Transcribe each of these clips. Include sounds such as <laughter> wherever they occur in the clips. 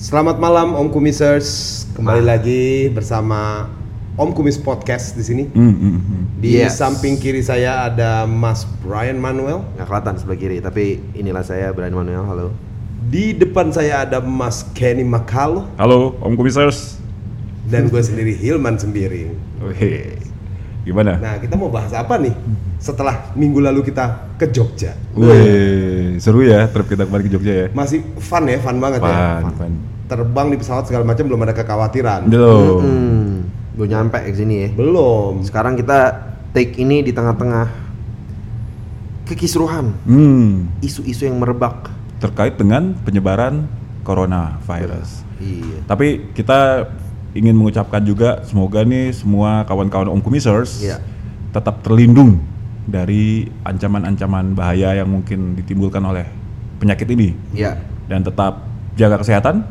Selamat malam Om Kumisers, kembali lagi bersama Om Kumis Podcast di sini. Hmm, hmm, hmm. Di Yes. samping kiri saya ada Mas Brian Manuel, nggak kelihatan sebelah kiri tapi inilah saya Brian Manuel halo di depan saya ada Mas Kenny Makalo Halo, Om Komisaris. dan <laughs> gue sendiri Hilman sendiri. Wih, Gimana? Nah kita mau bahas apa nih setelah minggu lalu kita ke Jogja? Wih, seru ya trip kita kemarin ke Jogja ya. Masih fun ya, fun banget ya. Pan, pan. Terbang di pesawat segala macam belum ada kekhawatiran. Hello. hmm, belum nyampe ke sini ya Belum. sekarang kita take ini di tengah-tengah kekisruhan Hmm, isu-isu yang merebak terkait dengan penyebaran coronavirus. iya Tapi kita ingin mengucapkan juga semoga nih semua kawan-kawan Om Kumisers Iya. tetap terlindung dari ancaman-ancaman bahaya yang mungkin ditimbulkan oleh penyakit ini ya dan tetap jaga kesehatan,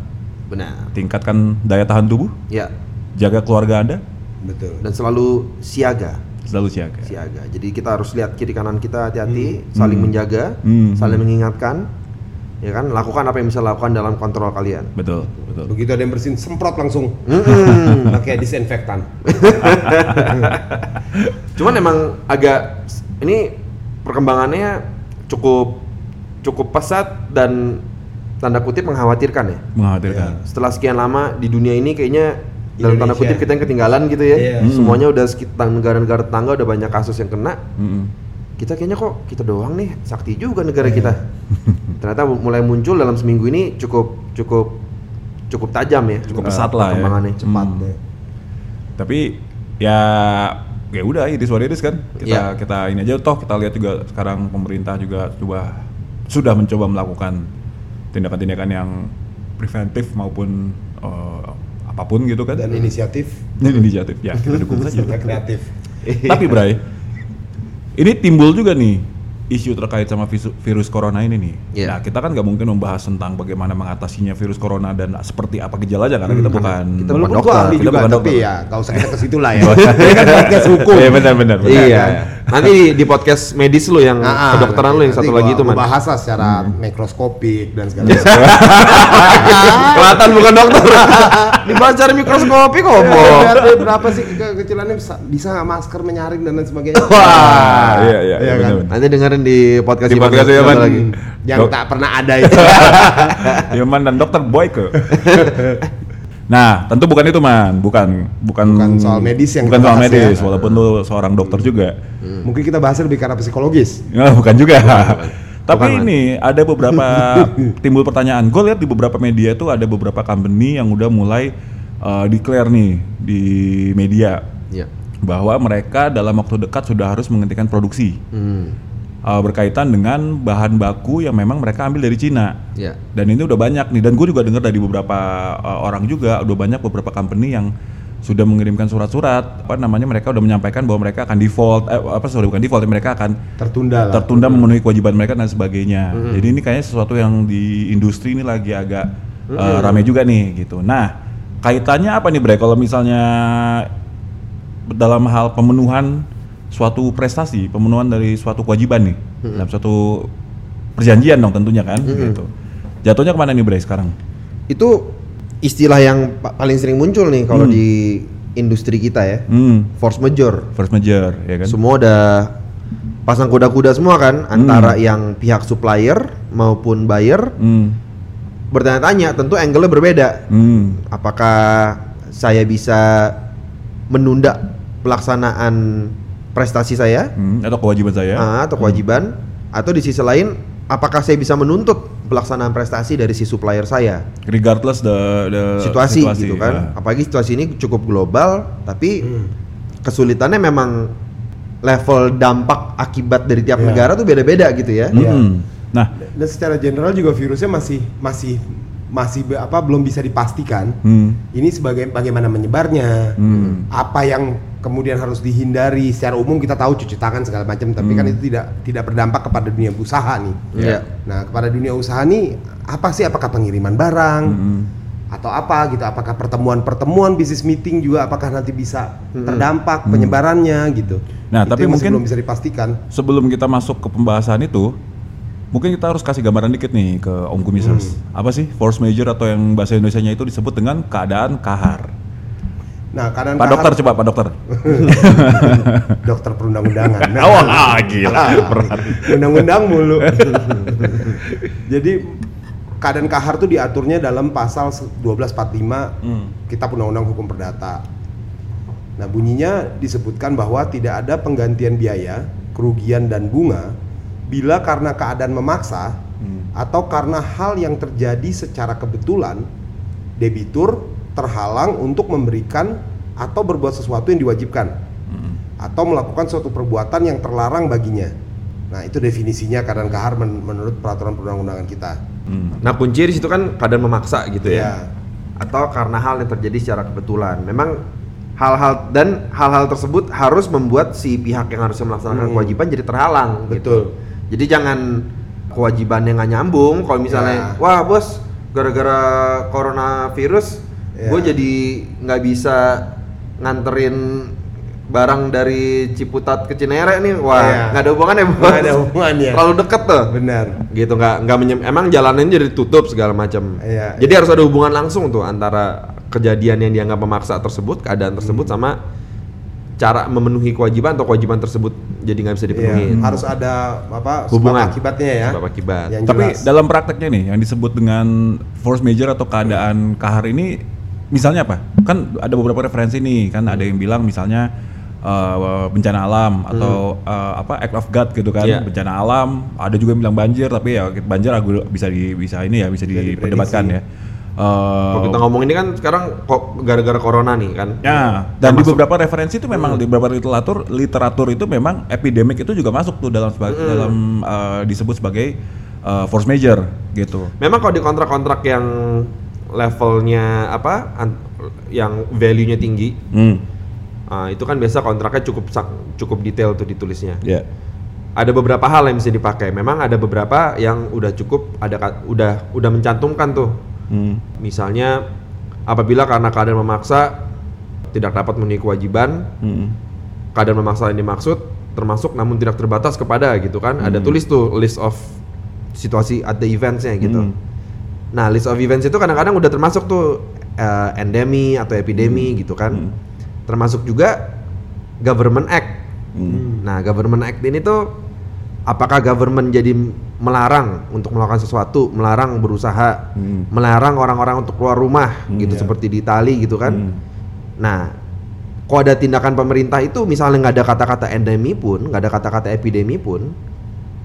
benar tingkatkan daya tahan tubuh, ya jaga keluarga Anda, Betul. dan selalu siaga selalu siaga. siaga jadi kita harus lihat kiri kanan kita hati-hati saling menjaga Hmm. saling mengingatkan ya kan lakukan apa yang bisa lakukan dalam kontrol <laughs> kalian Betul, betul. Begitu ada yang bersin, semprot langsung Mm-mm. Nah. pakai disinfektan. Cuman emang agak ini perkembangannya cukup cukup pesat dan tanda kutip mengkhawatirkan ya. Mengkhawatirkan. Setelah sekian lama di dunia ini kayaknya dalam tanda Indonesia. kutip kita yang ketinggalan gitu ya. Iya. Hmm. Semuanya udah sekitar negara-negara tetangga udah banyak kasus yang kena. Mm-mm. Kita kayaknya kok kita doang nih sakti juga negara kita. Ternyata mulai muncul dalam seminggu ini cukup cukup cukup tajam ya. Cukup eh, pesat lah ya. perkembangannya. Cepat deh. Tapi ya ya udah ini suara ini kan kita kita ini aja toh kita lihat juga sekarang pemerintah juga coba sudah mencoba melakukan tindakan-tindakan yang preventif maupun eh, apapun gitu kan. Dan inisiatif, Ini inisiatif ya kita <laughs> dukung saja. serta kreatif. Tapi Bray, ini timbul juga nih isu terkait sama visu- virus corona ini nih. Iya. Nah kita kan nggak mungkin membahas tentang bagaimana mengatasinya virus corona dan seperti apa gejalanya karena Hmm. kita bukan Kita Walaupun bukan gua dokter, ahli kita juga, bukan tapi <laughs> dokter. ya gak usah kita ke situ <laughs> lah ya. Ini kan podcast hukum. Iya benar benar. benar. Iya. Nanti di, di podcast medis lu yang Ah, Hmm. ah, kedokteran lu yang nanti satu gua- lagi itu gua man. Bahas lah secara mikroskopik dan segala macam. <laughs> Kelihatan bukan <laughs> dokter. Dibahas dari mikroskopi ngomong. Lihat deh, Berapa sih kekecilannya bisa, bisa nggak masker menyaring dan lain <laughs> sebagainya. Ah, Wah. iya iya Iya iya kan? benar. benar. Nanti dengerin di podcast Di Iman podcast yang Iman. satu Hmm. Yang Dok- tak pernah ada itu. <laughs> Hilman dan Dokter Boyke. <laughs> nah, tentu bukan itu man, bukan bukan, Bukan soal medis yang bukan kita soal bahas medis, ya. walaupun lu seorang dokter juga. Mungkin kita bahasnya lebih karena psikologis. Ya, bukan juga. Tapi Bukan, Man. ini ada beberapa <laughs> timbul pertanyaan. Gue lihat di beberapa media tuh ada beberapa company yang udah mulai eh, declare nih di media Iya. bahwa mereka dalam waktu dekat sudah harus menghentikan produksi Hmm. eh, berkaitan dengan bahan baku yang memang mereka ambil dari Cina. Iya. Dan ini udah banyak nih. Dan gue juga dengar dari beberapa eh, orang juga udah banyak beberapa company yang sudah mengirimkan surat-surat apa namanya mereka udah menyampaikan bahwa mereka akan default eh, apa sorry bukan default mereka akan Tertunda lah. tertunda memenuhi kewajiban mereka dan sebagainya. Hmm. Jadi ini kayaknya sesuatu yang di industri ini lagi agak Hmm. eh, rame juga nih gitu. Nah, kaitannya apa nih Bre kalau misalnya dalam hal pemenuhan suatu prestasi, pemenuhan dari suatu kewajiban nih Hmm. dalam suatu perjanjian dong tentunya kan gitu. Jatuhnya kemana nih Bre sekarang? Itu istilah yang pa- paling sering muncul nih kalau di industri kita ya. Hmm, Force majeure. first major ya kan? Hmm. Semua udah pasang kuda-kuda semua kan antara yang pihak supplier maupun buyer Hmm, bertanya-tanya tentu angle-nya berbeda. hmm, apakah saya bisa menunda pelaksanaan prestasi saya hmm, atau kewajiban saya? ah, atau kewajiban atau di sisi lain apakah saya bisa menuntut pelaksanaan prestasi dari si supplier saya Regardless the, the situasi, gitu kan Eh, ya. apalagi situasi ini cukup global tapi Hmm. kesulitannya memang level dampak akibat dari tiap Iya. negara tuh beda-beda gitu ya Iya. Mm-mm. Nah, Dan secara general juga virusnya masih masih masih be- apa belum bisa dipastikan. hmm. Ini sebagai bagaimana menyebarnya, Hmm. apa yang kemudian harus dihindari. Secara umum kita tahu cuci tangan segala macam, tapi Hmm. kan itu tidak tidak berdampak kepada dunia usaha nih. Iya. Nah, kepada dunia usaha nih apa sih? Apakah pengiriman barang Mm-mm. atau apa gitu? Apakah pertemuan-pertemuan bisnis meeting juga apakah nanti bisa terdampak penyebarannya gitu? Hmm. Nah, Itu tapi yang masih mungkin- belum bisa dipastikan. Sebelum kita masuk ke pembahasan itu, Mungkin kita harus kasih gambaran dikit nih ke Om Kumisas. Apa sih force major atau yang bahasa Indonesia-nya itu disebut dengan keadaan kahar? Nah, kadang Pak dokter coba Pak dokter. dokter perundang-undangan. <laughs> Nah, Awal ah, gila <laughs> berat. undang-undang mulu. Jadi keadaan kahar tuh diaturnya dalam pasal 1245 Hmm. Kitab Undang-Undang Hukum Perdata. Nah, bunyinya disebutkan bahwa tidak ada penggantian biaya, kerugian dan bunga bila karena keadaan memaksa atau karena hal yang terjadi secara kebetulan debitur terhalang untuk memberikan atau berbuat sesuatu yang diwajibkan Mm. atau melakukan suatu perbuatan yang terlarang baginya. Nah, itu definisinya keadaan kahar men- menurut peraturan perundang-undangan kita. Mm. Nah kunci di situ kan keadaan memaksa gitu ya. <laughs> Iya. Atau karena hal yang terjadi secara kebetulan. Memang hal-hal dan hal-hal tersebut harus membuat si pihak yang harusnya melaksanakan Hmm. kewajiban jadi terhalang. Betul. Gitu. Jadi jangan kewajibannya nggak nyambung. Kalau Ya. misalnya, wah bos, gara-gara coronavirus, Ya. gue jadi nggak bisa nganterin barang dari Ciputat ke Cinere nih, Ya. wah nggak ada hubungannya bos. Nggak ada hubungannya. Terlalu deket tuh Benar. Iya. gitu nggak nggak menyem- emang jalanan jadi tutup segala macam Iya, jadi harus ada hubungan langsung tuh antara kejadian yang dianggap memaksa tersebut keadaan Hmm. tersebut sama cara memenuhi kewajiban atau kewajiban tersebut jadi nggak bisa Iya, dipenuhi harus ada apa sebab Hubungan. akibatnya ya. sebab akibat Yang Tapi jelas. dalam prakteknya nih yang disebut dengan force major atau keadaan kahar ini misalnya apa? Kan ada beberapa referensi nih kan ada yang bilang misalnya eh, bencana alam atau eh, apa act of god gitu kan Iya. bencana alam ada juga yang bilang banjir tapi ya banjir aku bisa di bisa ini ya bisa diperdebatkan ya. Eh, kalau kita ngomong ini kan sekarang kok gara-gara corona nih kan Ya, dan di beberapa referensi itu memang di beberapa literatur literatur itu memang epidemic itu juga masuk tuh dalam seba- dalam eh, disebut sebagai eh, force major gitu. memang kalau di kontrak-kontrak yang levelnya apa an- yang value-nya tinggi Hmm. ah, itu kan biasa kontraknya cukup sak- cukup detail tuh ditulisnya Ya. ada beberapa hal yang bisa dipakai. Memang ada beberapa yang udah cukup ada ka- udah udah mencantumkan tuh. Hmm. Misalnya apabila karena keadaan memaksa tidak dapat memenuhi kewajiban, Hmm. keadaan memaksa yang dimaksud termasuk namun tidak terbatas kepada gitu kan. Ada tulis tuh list of situasi at the events-nya gitu. Hmm. Nah, list of events itu kadang-kadang udah termasuk tuh eh, endemi atau epidemi gitu kan. Termasuk juga government act. Hmm. Nah, government act ini tuh apakah government jadi melarang untuk melakukan sesuatu, melarang berusaha, Hmm. melarang orang-orang untuk keluar rumah gitu iya. seperti di Itali gitu kan. Hmm. Nah, kalau ada tindakan pemerintah itu misalnya nggak ada kata-kata endemi pun, nggak ada kata-kata epidemi pun,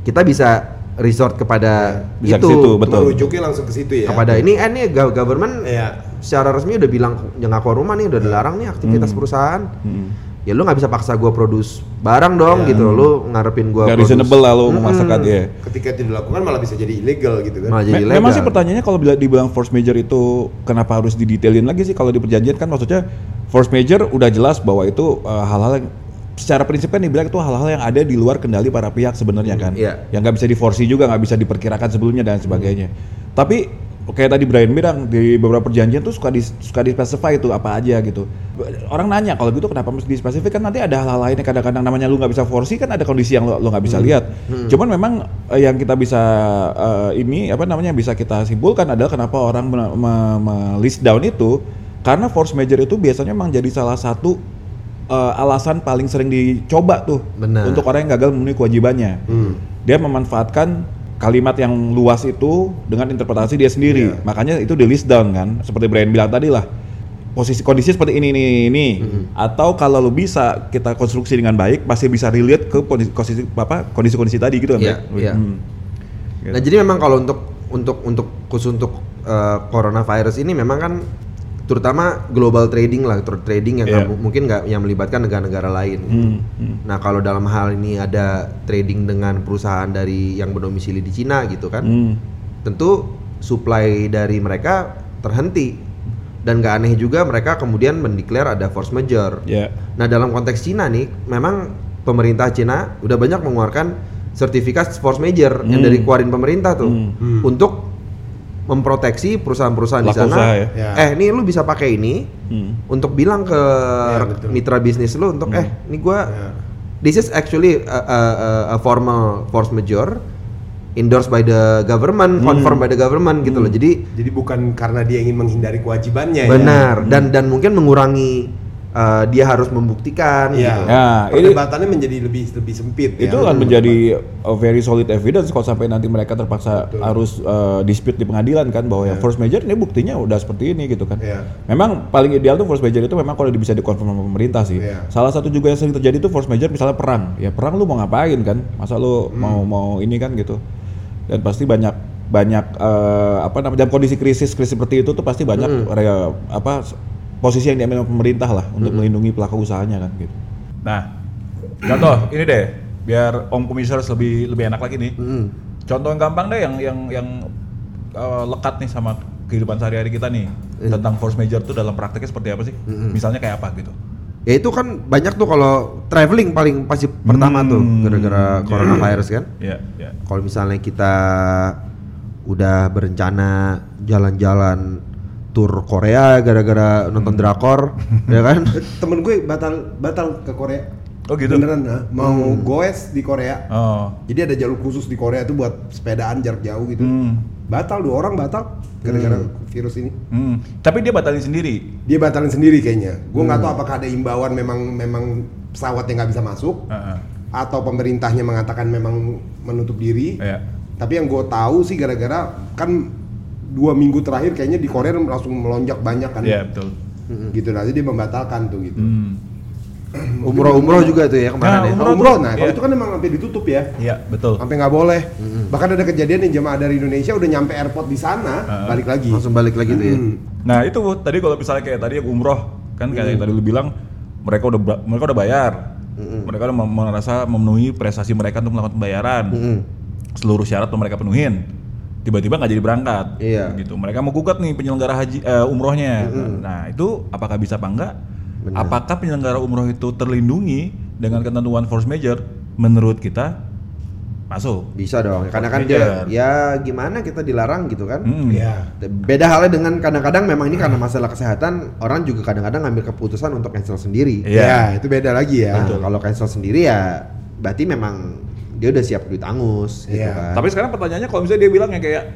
kita bisa resort kepada Bisa ke itu situ, betul. Iya. Merujuknya langsung ke situ ya. kepada ini eh ini gov- government Iya. secara resmi udah bilang jangan keluar rumah nih udah dilarang nih aktivitas perusahaan Hmm. Ya. ya lu nggak bisa paksa gua produce barang dong gitu lu ngarepin gua Nggak produce. reasonable lah Hmm. lo memaksakan ya. Ketika itu dilakukan malah bisa jadi ilegal gitu kan. malah jadi Me- legal Memang sih pertanyaannya kalau bila dibilang force major itu kenapa harus didetailin lagi sih kalau di perjanjian kan maksudnya force major udah jelas bahwa itu eh, hal-hal yang secara prinsipnya dibilang itu hal-hal yang ada di luar kendali para pihak sebenarnya kan, Iya. yang nggak bisa diforsi juga nggak bisa diperkirakan sebelumnya dan sebagainya. Tapi kayak tadi Brian bilang di beberapa perjanjian tuh suka di suka di specify itu apa aja gitu. Orang nanya kalau gitu kenapa mesti di spesifik kan nanti ada hal-hal lain yang kadang-kadang namanya lu nggak bisa forsi kan ada kondisi yang lo lo nggak bisa lihat. Cuman memang eh, yang kita bisa eh, ini apa namanya yang bisa kita simpulkan adalah kenapa orang me- me- me- list down itu karena force major itu biasanya memang jadi salah satu eh, alasan paling sering dicoba tuh Benar. untuk orang yang gagal memenuhi kewajibannya Hmm. dia memanfaatkan kalimat yang luas itu dengan interpretasi dia Iya. sendiri. Makanya itu di list down kan, seperti Brian bilang tadi lah. Posisi kondisi seperti ini ini ini, ini. Mm-hmm. atau kalau lu bisa kita konstruksi dengan baik pasti bisa relate ke kondisi kondisi apa kondisi-kondisi tadi gitu kan. Iya, Brian? iya. Hmm. nah jadi memang kalau untuk untuk untuk khusus untuk eh, coronavirus ini memang kan terutama global trading lah ter- trading yang Iya. nggak mu- mungkin nggak yang melibatkan negara-negara lain Hmm, hmm. nah kalau dalam hal ini ada trading dengan perusahaan dari yang berdomisili di Cina gitu kan Hmm. tentu supply dari mereka terhenti dan gak aneh juga mereka kemudian mendeklar ada force major. Ya. Nah dalam konteks Cina nih, memang pemerintah Cina udah banyak mengeluarkan sertifikat force major yang Hmm. dari keluarin pemerintah tuh Hmm. Hmm. untuk memproteksi perusahaan-perusahaan Kan di Pelaku sana. usaha ya. Ya. Eh ini lu bisa pakai ini Hmm. untuk bilang ke Iya, betul. Hmm. mitra bisnis lu untuk eh ini gua Ya. This is actually a, a- a- a formal force major endorsed by the government, Hmm. confirmed by the government gitu loh. Jadi Jadi bukan karena dia ingin menghindari kewajibannya ya. benar dan dan mungkin mengurangi eh, dia harus membuktikan Iya. gitu. Nah, ini- Perdebatannya menjadi lebih lebih sempit ya. itu akan menjadi a very solid evidence kalau sampai nanti mereka terpaksa harus uh, dispute di pengadilan kan bahwa ya force major ini buktinya udah seperti ini gitu kan. Iya. Memang paling ideal tuh force major itu memang kalau bisa dikonfirm sama pemerintah sih. Iya. Salah satu juga yang sering terjadi tuh force major misalnya perang. Ya perang lu mau ngapain kan? Masa lu Hmm. mau mau ini kan gitu. Dan pasti banyak banyak eh, apa namanya dalam kondisi krisis krisis seperti itu tuh pasti banyak Hmm. re- apa posisi yang diambil sama pemerintah lah untuk melindungi pelaku usahanya kan gitu. Hmm. Nah, contoh ini deh, biar Om Komisaris lebih lebih enak lagi nih. Hmm. Contoh yang gampang deh, yang yang yang eh, lekat nih sama kehidupan sehari-hari kita nih tentang force major tuh dalam prakteknya seperti apa sih? Misalnya kayak apa gitu? Ya itu kan banyak tuh kalau traveling paling pasti pertama tuh Hmm. gara-gara Iya. coronavirus kan. Ya, ya. Kalau misalnya kita udah berencana jalan-jalan tur Korea gara-gara Hmm. nonton <laughs> drakor, ya kan? Temen gue batal batal ke Korea. Oh, gitu? Beneran ah. mau goes di Korea. Oh, Jadi ada jalur khusus di Korea itu buat sepedaan jarak jauh gitu. Hmm. Batal dua orang batal gara-gara virus ini. hmm. tapi dia batalin sendiri. Dia batalin sendiri kayaknya. Gue Hmm. nggak tahu apakah ada imbauan memang memang pesawat yang nggak bisa masuk Heeh. atau pemerintahnya mengatakan memang menutup diri. Iya. Tapi yang gue tahu sih gara-gara kan dua minggu terakhir kayaknya di Korea langsung melonjak banyak kan. Iya, betul. Gitu nanti dia membatalkan tuh gitu. Hmm. Umroh-umroh juga tuh ya kemarin Nah, ya. Nah, Umroh umroh, tuh, nah iya. kalau itu kan emang sampai ditutup ya. Iya, betul. Sampai nggak boleh. Bahkan ada kejadian yang jemaah dari Indonesia udah nyampe airport di sana, balik lagi. Langsung balik lagi tuh ya. Hmm. Nah itu tadi kalau misalnya kayak tadi yang umroh kan kayak yang tadi lu bilang mereka udah ba- mereka udah bayar, mereka udah mem- merasa memenuhi prestasi mereka untuk melakukan pembayaran, Hmm. seluruh syarat tuh mereka penuhin, tiba-tiba nggak jadi berangkat, Iya. gitu. Mereka mau gugat nih penyelenggara haji eh, umrohnya. Nah itu apakah bisa apa enggak? Apakah penyelenggara umroh itu terlindungi dengan ketentuan force major? Menurut kita masuk. Bisa dong. Karena kan dia ya gimana kita dilarang gitu kan. Mm-mm. Iya. Beda halnya dengan kadang-kadang memang ini karena masalah kesehatan orang juga kadang-kadang ngambil keputusan untuk cancel sendiri. Ya, Iya. itu beda lagi ya. Nah, kalau cancel sendiri ya berarti memang dia udah siap duit angus gitu Iya. kan. Tapi sekarang pertanyaannya kalau misalnya dia bilang yang kayak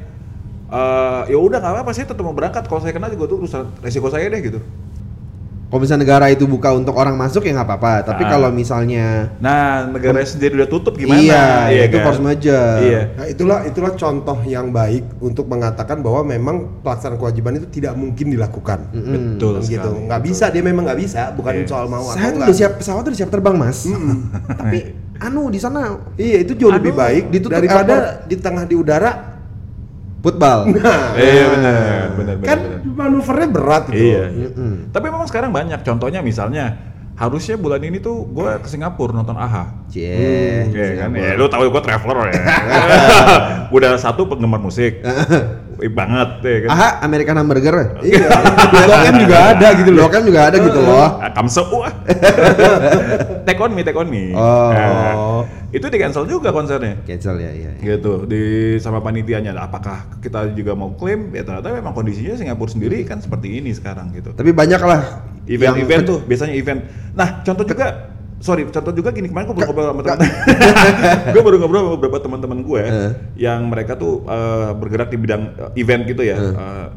eh ya udah nggak apa-apa sih tetap mau berangkat kalau saya kena juga tuh urusan resiko saya deh gitu. Kalau misalnya negara itu buka untuk orang masuk ya nggak apa-apa. Tapi Ah. kalau misalnya Nah, negara sendiri udah tutup gimana? Iya, itu kan? force major. Iya. Nah, itulah itulah contoh yang baik untuk mengatakan bahwa memang pelaksanaan kewajiban itu tidak mungkin dilakukan. Betul Kan gitu. sekali. Nggak bisa, dia memang nggak bisa, bukan Iya. soal mau saya tuh nggak. udah siap pesawat udah siap terbang mas. <laughs> Tapi anu di sana Iya, itu jauh lebih Aduh, baik ditutup daripada airport. di tengah di udara. <laughs> football. Nah, Iya benar, benar benar. kan benar. manuvernya berat itu. Iya. iya. Mm-mm. Tapi memang sekarang banyak contohnya misalnya harusnya bulan ini tuh gue ke Singapura nonton AHA. Cie. Iya kan, ya lu tahu gue traveler <laughs> ya. udah satu penggemar <laughs> musik, Ih, banget ya kan. Aha, American <laughs> hamburger. Iya. <laughs> Blok M juga ada gitu loh. Blok M juga ada gitu loh. Ah, Kamso <laughs> wah. take on me, take on me. Oh. Nah, itu di cancel juga konsernya. Cancel ya, iya. iya. Gitu, di sama panitianya apakah kita juga mau klaim? Ya ternyata memang kondisinya Singapura sendiri kan seperti ini sekarang gitu. Tapi banyak lah Event-event tuh biasanya event. Nah, contoh juga sorry, contoh juga gini kemarin gue baru ngobrol sama <laughs> teman. gue baru ngobrol sama beberapa teman-teman gue Eh. yang mereka tuh eh, bergerak di bidang eh, event gitu ya. Eh,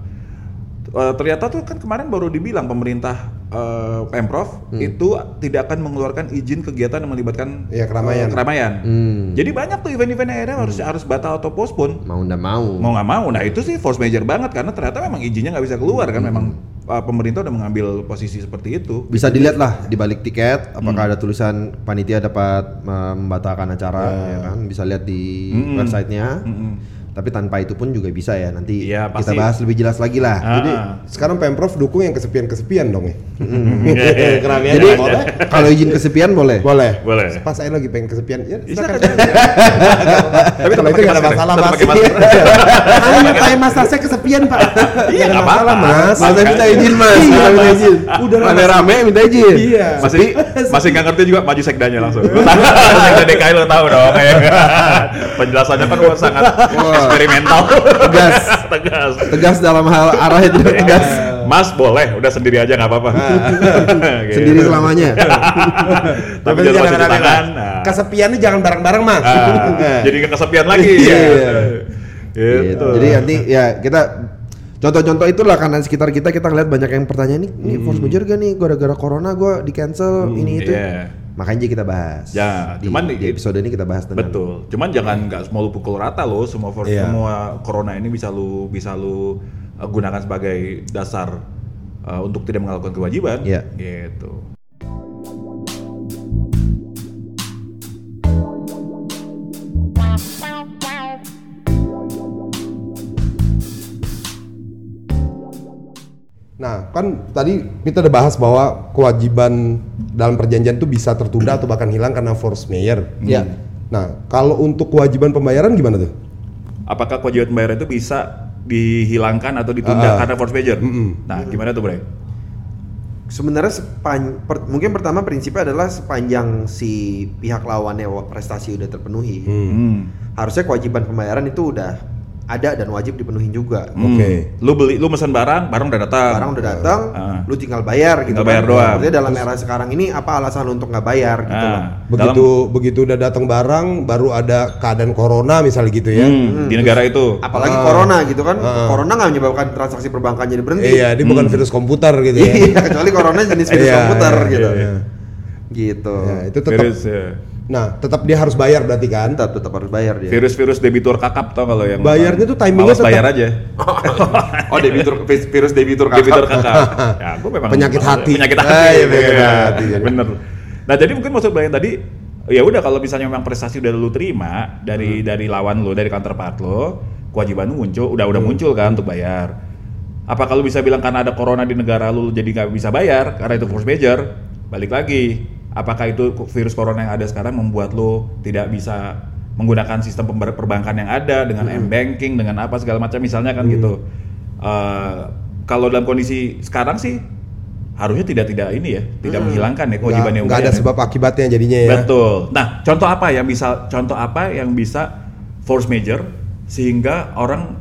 t- eh, ternyata tuh kan kemarin baru dibilang pemerintah eh, pemprov Hmm. itu tidak akan mengeluarkan izin kegiatan yang melibatkan Iya, keramaian. eh, keramaian. Hmm. Jadi banyak tuh event-event yang akhirnya harus harus batal atau postpone mau ndak mau. mau nggak mau nah itu sih force major banget karena ternyata memang izinnya nggak bisa keluar kan memang uh, pemerintah udah mengambil posisi seperti itu Bisa dilihat lah di balik tiket apakah ada tulisan panitia dapat eh, membatalkan acara ya kan. Bisa lihat di Mm-mm. websitenya. Mm-mm. Tapi tanpa itu pun juga bisa ya nanti Iya, pasti. kita bahas lebih jelas lagi lah. Jadi Ah. Mm-hmm. sekarang Pemprov dukung yang kesepian-kesepian dong ya. <laughs> Iya, Keramaian Jadi nggak <laughs> boleh. kalau izin kesepian boleh. Boleh. Boleh. Pas saya lagi pengen kesepian, ya Ya, silakan. silakan. <laughs> Kalau tapi itu tetap pakai nggak ada masker masalah, Mas. tetap Iya. pakai masker Saya mau tanya Mas saya kesepian, Pak. Iya, nggak apa-apa. Mas. Mas saya minta izin mas, Iya, Saya minta Mas. izin. Udah lah, Rame Mas. rame minta izin. Iya. masih masih nggak ngerti juga maju sekdanya <laughs> langsung sekda DKI lo tahu dong ya. penjelasannya kan sangat eksperimental Tegas. <laughs> tegas Tegas dalam hal arahnya tidak tegas. Mas boleh, udah sendiri aja nggak apa-apa. <laughs> Gitu. Sendiri selamanya. Tapi Tapi jangan jangan cuci rame-rame, tangan. Mas. Nah. Kesepiannya jangan bareng-bareng mas. Ah, <laughs> jadi nggak kesepian lagi. Iya. Gitu. Gitu. Jadi nanti ya kita contoh-contoh itulah kanan sekitar kita kita lihat banyak yang pertanyaan nih, ini Hmm. force majeure gak nih gara-gara corona gua di cancel ini itu. iya. Makanya kita bahas. Ya, di, cuman di di- episode ini kita bahas tentang Betul. Cuman jangan nggak semua lu pukul rata lo, semua for- Iya. semua corona ini bisa lu bisa lu uh, gunakan sebagai dasar uh, untuk tidak melakukan kewajiban. Iya. Gitu. Nah, kan tadi kita udah bahas bahwa kewajiban dalam perjanjian itu bisa tertunda atau bahkan hilang karena force majeure. Iya. Nah, kalau untuk kewajiban pembayaran gimana tuh? Apakah kewajiban pembayaran itu bisa dihilangkan atau ditunda Ah. karena force majeure? Mm-mm. Nah, gimana tuh, Bre? sebenarnya sepan, per- mungkin pertama prinsipnya adalah sepanjang si pihak lawannya wa- prestasi udah terpenuhi Mm. Hmm. harusnya kewajiban pembayaran itu udah ada dan wajib dipenuhi juga Hmm. Oke. Lu beli lu pesan barang, barang udah datang. barang udah datang Ah. lu tinggal bayar gitu Tinggal bayar doang. Maksudnya dalam era sekarang ini apa alasan lu untuk nggak bayar gitu Nah, loh Begitu begitu udah datang barang, baru ada keadaan corona misalnya gitu ya. dalam- hmm, di negara itu. apalagi Ah. corona gitu kan Ah. corona nggak menyebabkan transaksi perbankan jadi berhenti <laughs> Iya, ini Hmm. bukan virus komputer gitu ya. Iya, kecuali corona jenis virus Iya, komputer iya, gitu iya. gitu Nah, itu tetap Virus ya. Nah, tetap dia harus bayar berarti kan? tetap tetap harus bayar dia Virus-virus debitur kakap tau kalau yang Bayarnya tuh timingnya Malas bayar tetap- aja. oh debitur <laughs> virus debitur debitur kakak. ya, gua memang Penyakit hati. Penyakit hati. Ah, iya, penyakit Iya, hati. Bener. Nah, jadi mungkin maksud Brian tadi ya udah kalau misalnya memang prestasi udah lu terima dari dari lawan lu, dari counterpart lu, kewajiban lu muncul, udah udah muncul kan untuk bayar. Apa kalau bisa bilang karena ada corona di negara lu jadi nggak bisa bayar karena itu force major? Balik lagi, apakah itu virus corona yang ada sekarang membuat lu tidak bisa menggunakan sistem pember- perbankan yang ada dengan m-banking dengan apa segala macam misalnya kan gitu. Eh, kalau dalam kondisi sekarang sih harusnya tidak tidak ini ya, tidak menghilangkan ya Nggak, kewajibannya nggak ada UMR ya. sebab akibatnya jadinya ya. Betul. Nah, contoh apa yang bisa contoh apa yang bisa force major sehingga orang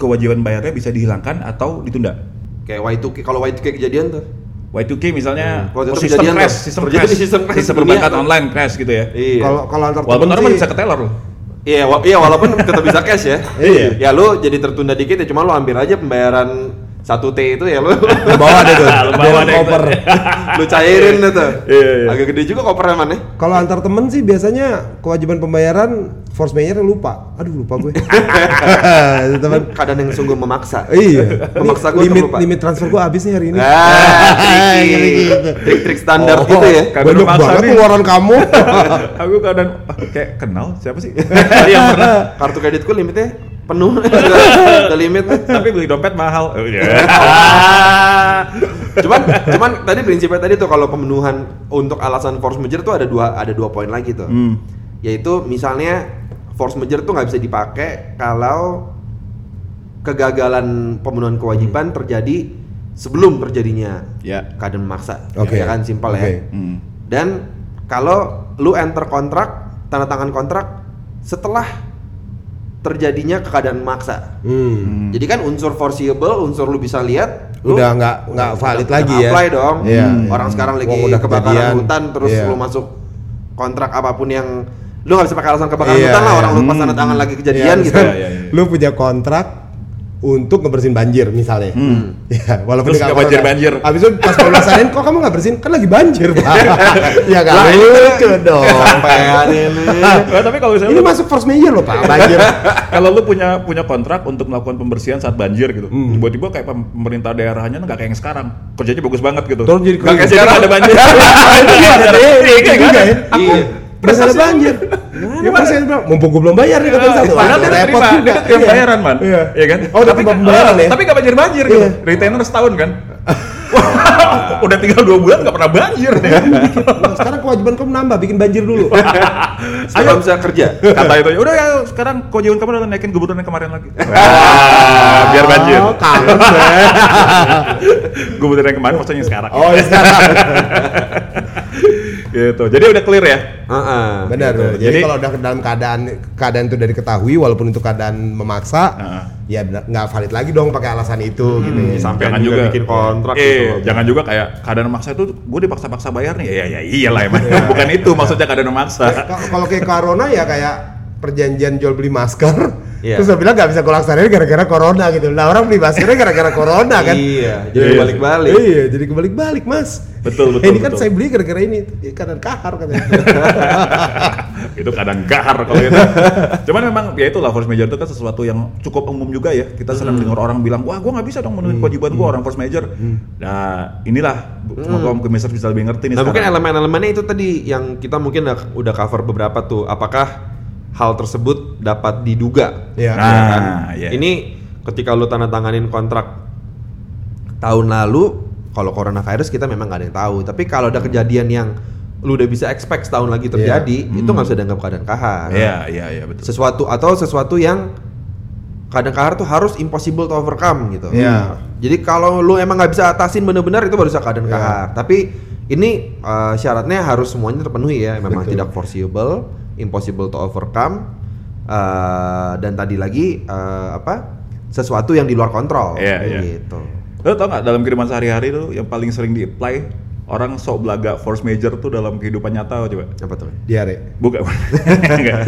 kewajiban bayarnya bisa dihilangkan atau ditunda. kayak Y2K kalau Y2K kejadian tuh Y2K misalnya oh, Hmm. Waktu itu sistem kejadian crash, tuh. sistem Terjadi crash, sistem crash dunia perbankan tuh. online crash gitu ya. iya Kalau kalau antar Walaupun temen orang sih- bisa keteler <laughs> loh. iya wa- iya walaupun tetap bisa cash ya <laughs> Iya. ya lu jadi tertunda dikit ya cuma lu ambil aja pembayaran 1 T itu <laughs> ya lu Lu bawa deh <laughs> tuh. Lu Biar bawa deh itu. koper. lu cairin deh tuh Iya, iya. agak gede juga kopernya ya. mana <laughs> Kalau antar temen sih biasanya kewajiban pembayaran force majeure lupa. Aduh lupa <laughs> gue. teman. kadang yang sungguh memaksa Iya. Ini Memaksa gua untuk limit lupa. limit transfer gue habis nih hari <laughs> ini. Nah, Ngeri tricky. gitu. trik-trik standar Oh, gitu ya. Kagak Banyak ada maksa banget nih. pengeluaran <laughs> kamu. Aku kadang ah, kayak kenal siapa <laughs> sih? Iya, Yang Kan <laughs> pernah kartu kreditku limitnya <laughs> penuh. Udah limit. Tapi beli dompet mahal. Oh, iya. <laughs> Ah. cuman cuman tadi prinsipnya tadi tuh kalau pemenuhan untuk alasan force majeure tuh ada dua ada dua poin lagi tuh Hmm. yaitu misalnya force majeure tuh nggak bisa dipakai kalau kegagalan pemenuhan kewajiban terjadi sebelum terjadinya Ya. keadaan maksa Oke. ya kan simpel Oke. ya Hmm. dan kalau lu enter kontrak tanda tangan kontrak setelah terjadinya keadaan maksa Hmm. jadi kan unsur foreseeable, unsur lu bisa lihat, lu Udah nggak nggak valid lagi ya. Apply dong. Iya. Hmm. Orang sekarang lagi Wah, udah kebakaran kejadian. hutan terus Iya. lu masuk kontrak apapun yang lu nggak bisa pakai alasan kebakaran Iya, hutan lah iya. orang lu pas tanda tangan lagi kejadian Iya, gitu. misalnya Iya, iya, iya. Lu punya kontrak untuk ngebersihin banjir misalnya. Hmm. Hmm. <laughs> Ya, walaupun Terus nggak nggak banjir-banjir. Habis itu pas pembahasannya kok kamu nggak bersihin? Kan lagi banjir, Pak. Iya. <laughs> ya kan Lah, ini- lucu dong. ya. Sampean ini. Nah, <laughs> tapi kalau misalnya Ini lu- masuk force majeure loh, Iya. Pak, banjir. kalau lu punya punya kontrak untuk melakukan pembersihan saat banjir gitu Hmm. tiba-tiba kayak pem- pemerintah daerahnya nggak kayak yang sekarang kerjanya bagus banget gitu Terus jadi nggak kayak kerja. sekarang ada <laughs> banjir Itu juga ada deh, Iya, itu kan? juga ya. Iya. Udah ada banjir. Ya pas saya bilang, mumpung gue belum bayar nih kata satu. Padahal Aduh, dia terima, dia terima Iya. bayaran man, Iya. Iya kan? Oh, udah terima pembayaran ah, ya? Tapi nggak banjir banjir Iya. gitu. Retainer setahun kan. <laughs> Wah, udah tinggal dua bulan nggak pernah banjir. <laughs> ya. Nah, sekarang kewajiban kamu nambah, bikin banjir dulu. Ayo bisa kerja. Kata itu, udah ya sekarang kewajiban kamu udah naikin gubernur yang kemarin lagi. Wah, biar banjir. Oh, kangen deh. Oh, iya. iya. <laughs> Gubernur yang kemarin maksudnya yang sekarang. Oh, ya sekarang. gitu. Jadi udah clear ya. Heeh. Benar. Gitu. benar. Jadi, Jadi- kalau udah dalam keadaan keadaan itu dari ketahui walaupun itu keadaan memaksa, Heeh. ya benar- nggak valid lagi dong pakai alasan itu gitu. ya. Sampai Jangan juga juga. bikin kontrak eh, gitu. loh. jangan juga kayak keadaan maksa itu gue dipaksa-paksa bayar nih. Ya ya iyalah emang Iya. <laughs> bukan itu maksudnya keadaan Ka- <laughs> maksa. Kalau kayak corona ya kayak perjanjian jual beli masker. Iya. Terus dia bilang nggak bisa gue laksanain gara-gara corona gitu. Nah orang beli maskernya gara-gara corona kan. Iya, Iya. jadi balik-balik. Iya, jadi kebalik-balik mas. Betul, betul, Ini kan betul. saya beli gara-gara ini, Ini keadaan kahar <laughs> katanya. itu kadang gahar kalau itu. Cuman memang ya itulah force major itu kan sesuatu yang cukup umum juga ya. Kita Hmm. sering dengar orang bilang, "Wah, gua nggak bisa dong memenuhi kewajiban gua orang force major." Hmm. Nah, inilah bu- semoga Om Kemister bisa lebih ngerti nih Nah mungkin sekarang. elemen-elemennya itu tadi yang kita mungkin udah- udah cover beberapa tuh. Apakah hal tersebut dapat diduga? Iya. Nah, Ya kan? iya. Ini ketika lu tanda tanganin kontrak tahun lalu, kalau coronavirus kita memang nggak ada yang tahu. Tapi kalau ada kejadian yang lu udah bisa expect setahun lagi terjadi, itu nggak bisa dianggap keadaan kahar. Hmm. Iya, iya, iya betul. Sesuatu atau sesuatu yang kadang kahar tuh harus impossible to overcome gitu. Iya. Jadi kalau lu emang nggak bisa atasin bener-bener itu baru bisa keadaan kahar. Tapi ini eh, syaratnya harus semuanya terpenuhi ya. Memang Betul. tidak foreseeable, impossible to overcome, eh, dan tadi lagi eh, apa sesuatu yang di luar kontrol. Iya, iya. Gitu. Lo tau nggak dalam kehidupan sehari-hari tuh yang paling sering di-apply orang sok belaga force major tuh dalam kehidupan nyata coba. Apa tuh? Diare. <laughs> Bukan. Nggak.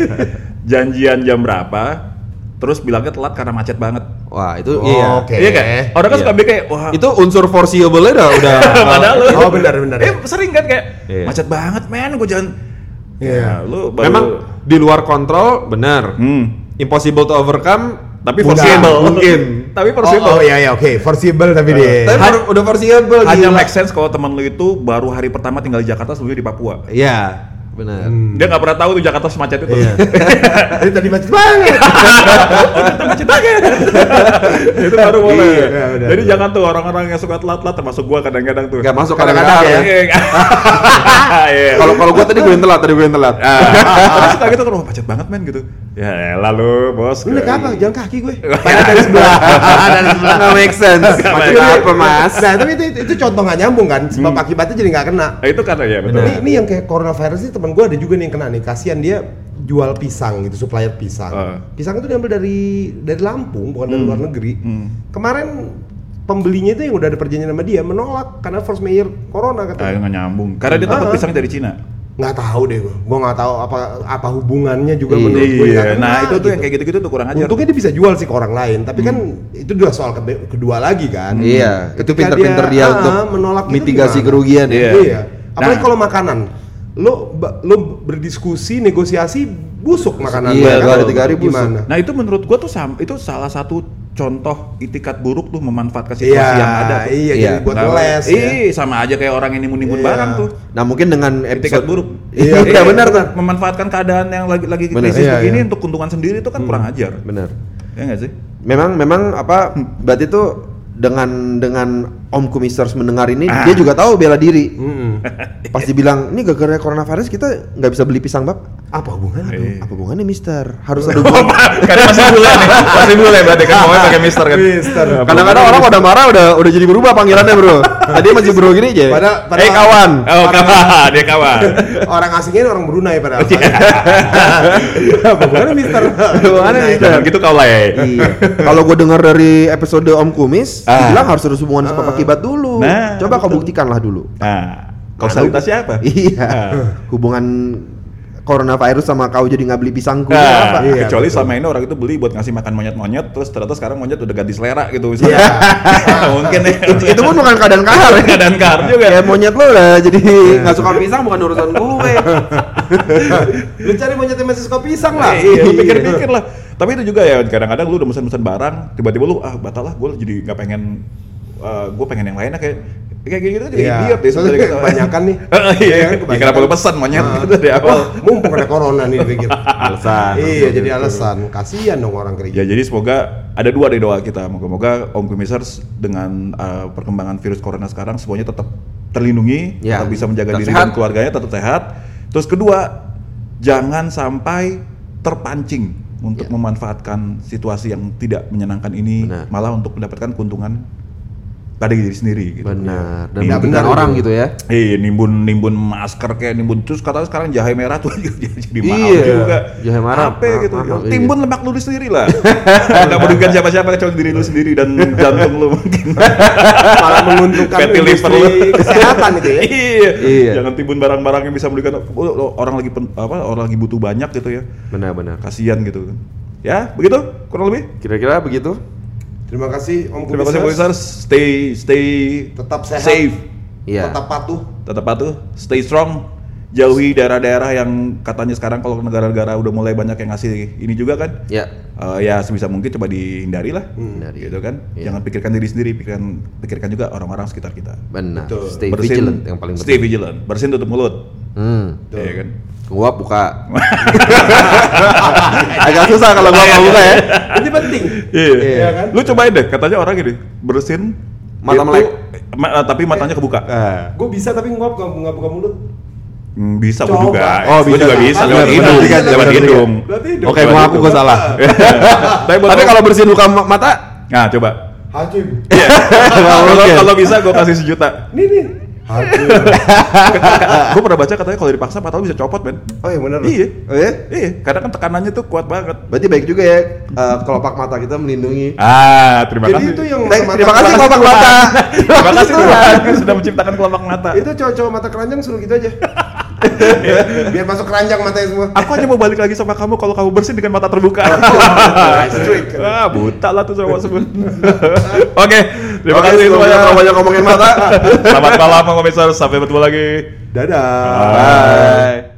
Janjian jam berapa? Terus bilangnya telat karena macet banget. Wah itu Oh, iya. oke. Iya kan? Orang kan Iya. suka mikir kayak wah Itu unsur foreseeable nya udah. <laughs> padahal lu. Oh, benar, benar. Eh sering kan kayak Iya. macet banget men gua jalan. Iya. Ya, lu baru memang di luar kontrol benar. hmm. Impossible to overcome. Tapi Mungkin, foreseeable. <laughs> mungkin. Tapi Nah. foreseeable. Oh, oh iya iya oke, foreseeable tapi dia. Tapi baru- udah foreseeable. Hanya gila. make sense kalau temen lu itu baru hari pertama tinggal di Jakarta sebelumnya di Papua. Iya, benar. Hmm. Dia nggak pernah tahu tuh Jakarta semacet itu. Iya. <laughs> Ini tadi macet banget. <laughs> itu baru boleh. Iya, iya, benar, Jadi benar. jangan tuh orang-orang yang suka telat-telat termasuk gua kadang-kadang tuh. Gak masuk Kadang-kadang ya. kadang-kadang ya. Iya. <laughs> Iya. <laughs> Kalau kalau gua tadi gue yang telat, tadi gue yang telat. Ah, <laughs> tapi suka gitu kan, wah macet banget men gitu. Ya lalu bos. Iya. Lu naik apa? Jalan kaki gue. Padahal dari <laughs> sebelah. Dari sebelah nggak make sense. Macam make apa mas? Nah, tapi itu, itu, itu contoh nggak nyambung kan, sebab Hmm. akibatnya jadi nggak kena. Nah, itu karena ya betul. Ini, ini yang kayak coronavirus ini teman gue ada juga nih yang kena nih. Kasihan dia jual pisang gitu, supplier pisang. Ah. Pisang itu diambil dari dari Lampung, bukan dari luar negeri. Hmm. Kemarin pembelinya itu yang udah ada perjanjian sama dia menolak karena first mayor corona Ah, katanya. nggak nyambung. Karena dia takut Ah. pisang dari Cina. Nggak tahu deh gue. Gue nggak tahu apa apa hubungannya juga Iya, menurut gue. nggak Iya. kena, Nah itu tuh gitu. yang kayak gitu-gitu tuh kurang ajar. Untungnya dia bisa jual sih ke orang lain, tapi kan Hmm. itu juga soal kebe- kedua lagi kan. Iya, itu Ketika pinter-pinter dia ah, untuk menolak itu mitigasi gimana? kerugian ya. Iya. Iya. Apalagi Nah. kalau makanan, lo ba- lo berdiskusi, negosiasi, busuk makanan. Iya, ya kan? dua hari, tiga hari busuk. Gimana? Nah itu menurut gua tuh sam- itu salah satu contoh itikat buruk tuh memanfaatkan situasi Iya, yang ada. Iya. tuh. iya, Iya. jadi buat Nggak- les. ya. Ih, sama aja kayak orang yang nimbun-nimbun Iya. barang tuh. Nah mungkin dengan Etikat episode buruk. Iya, Iya, benar tuh. Memanfaatkan keadaan yang lagi lagi Benar. krisis Iya, begini iya. untuk keuntungan sendiri itu kan kurang ajar. Benar. Ya nggak sih? Memang memang apa? Berarti tuh dengan dengan Om Kumisers mendengar ini dia juga tahu bela diri. Mm-mm. <laughs> Pas dibilang ini gara-gara coronavirus kita nggak bisa beli pisang bab. Apa hubungannya? Iya. Apa hubungannya Mister? Harus ada hubungan. Karena masih bule nih, masih bule berarti kan mau pakai Mister kan. Mister. Kadang-kadang orang udah marah udah udah jadi berubah panggilannya <laughs> bro. Tadi masih bro gini aja. Padahal- eh padahal- kawan. Oh kawan, dia kawan. <laughs> orang asingnya orang Brunei pada Iya. apa <laughs> hubungannya Mister? Hubungannya, Brunei. Mister. Jangan gitu kau lah ya. Iya. Kalau gue dengar dari episode Om Kumis, Ah. bilang harus ada hubungan sebab akibat dulu. Nah, Coba kau betul. buktikanlah dulu. Nah, kausalitasnya apa? <laughs> Ah. Iya. hubungan coronavirus sama kau jadi nggak beli pisangku. Nah, Iya, kecuali betul. sama ini orang itu beli buat ngasih makan monyet-monyet, terus ternyata sekarang monyet udah ganti selera gitu misalnya. Iya. <laughs> Mungkin ya. Itu, itu pun bukan keadaan kahar. ya. <laughs> keadaan kar juga. Ah. Kayak monyet lo udah jadi Nah. nggak suka pisang bukan urusan gue. <laughs> Lu cari monyet yang masih suka pisang lah. Iya, lu pikir-pikir lah. Tapi itu juga ya kadang-kadang lu udah mesen-mesen barang, tiba-tiba lu ah batal lah, gue jadi nggak pengen, gue pengen yang lainnya kayak kayak gitu juga Iya. idiot deh Soalnya sebenarnya. kebanyakan nih. <laughs> Iya kan, Iya, kan? kebanyakan. Kenapa lu pesan monyet gitu Ah. dari awal? Wah, mumpung ada corona nih dipikir. Alasan. iya, jadi alasan. Kasihan dong orang kerja. Ya jadi semoga ada dua dari doa kita. Moga-moga Om Kumisers dengan uh, perkembangan virus corona sekarang semuanya tetap terlindungi, Ya, tetap bisa menjaga tetap diri sehat. dan keluarganya tetap sehat. Terus kedua, jangan sampai terpancing untuk memanfaatkan situasi yang tidak menyenangkan ini Ya. Benar. malah untuk mendapatkan keuntungan pada diri sendiri gitu. Benar. Dan Tidak merugikan benar orang itu. gitu <laughs> ya. Iya, nimbun nimbun masker kayak nimbun terus katanya sekarang jahe merah tuh <laughs> jadi jadi mahal Iya, juga. jahe merah, Apa mahal, gitu? mahal, iya. timbun lemak lu sendiri lah. <laughs> Enggak merugikan siapa-siapa kecuali diri lu sendiri dan jantung lu <laughs> mungkin. malah menguntungkan Fatty liver industri lu. kesehatan itu ya iya. Gitu Iya. Jangan timbun barang-barang yang bisa merugikan oh, oh, orang lagi pen- apa orang lagi butuh banyak gitu ya. Benar-benar. Kasihan gitu kan. Ya, begitu kurang lebih. Kira-kira begitu. terima kasih om Terima kasih Kubisers. Profesor. Stay stay tetap sehat safe. Iya. tetap patuh Tetap patuh, stay strong. Jauhi daerah-daerah yang katanya sekarang kalau negara-negara udah mulai banyak yang ngasih ini juga kan. Ya. Eh, ya sebisa mungkin coba dihindari lah. Hmm. Hindari. Gitu kan. Iya. Jangan pikirkan diri sendiri, pikirkan pikirkan juga orang-orang sekitar kita. Benar. Betul. Stay vigilant yang paling Stay penting. vigilant. Bersin tutup mulut. Hmm. Iya kan. Nguap <laughs> buka. Agak susah kalau gua mau buka ya. ini penting Iya. Iya kan? Lu cobain deh, katanya orang gini, bersin Mata itu- melek. ma- eh, tapi matanya kebuka. gue bisa tapi nguap nggak nggak buka mulut Hmm, bisa gua Coba. juga. Oh, Gua bisa. juga bisa Bener, lewat bener, hidung, bener, bener, lewat bener. hidung. berarti hidup. Oke, gua aku gua <laughs> salah. Tapi, buat Tapi lu- kalau bersihin luka ma- mata, nah coba. hajim Kalau Oke. kalau bisa gua kasih sejuta. ini nih hajim Gua pernah baca katanya kalau dipaksa mata lu bisa copot, men. oh iya bener Iya. Oh ya? Iya, karena kan tekanannya tuh kuat banget. Berarti baik juga ya eh, kelopak mata kita melindungi. Ah, terima jadi kasih. itu yang Baik, mata terima kasih keranjang- kelopak mata. Terima kasih Tuhan yang sudah menciptakan kelopak mata. itu cowok-cowok mata keranjang suruh gitu aja biar masuk keranjang matanya semua Aku hanya mau balik lagi sama kamu kalau kamu bersin dengan mata terbuka. oh, Straight. ah, buta lah tuh cowok semua. Oke, terima Oke, kasih semuanya semuanya. terlalu banyak ngomongin mata. Selamat malam, Pak Komisar. Sampai bertemu lagi. dadah Bye.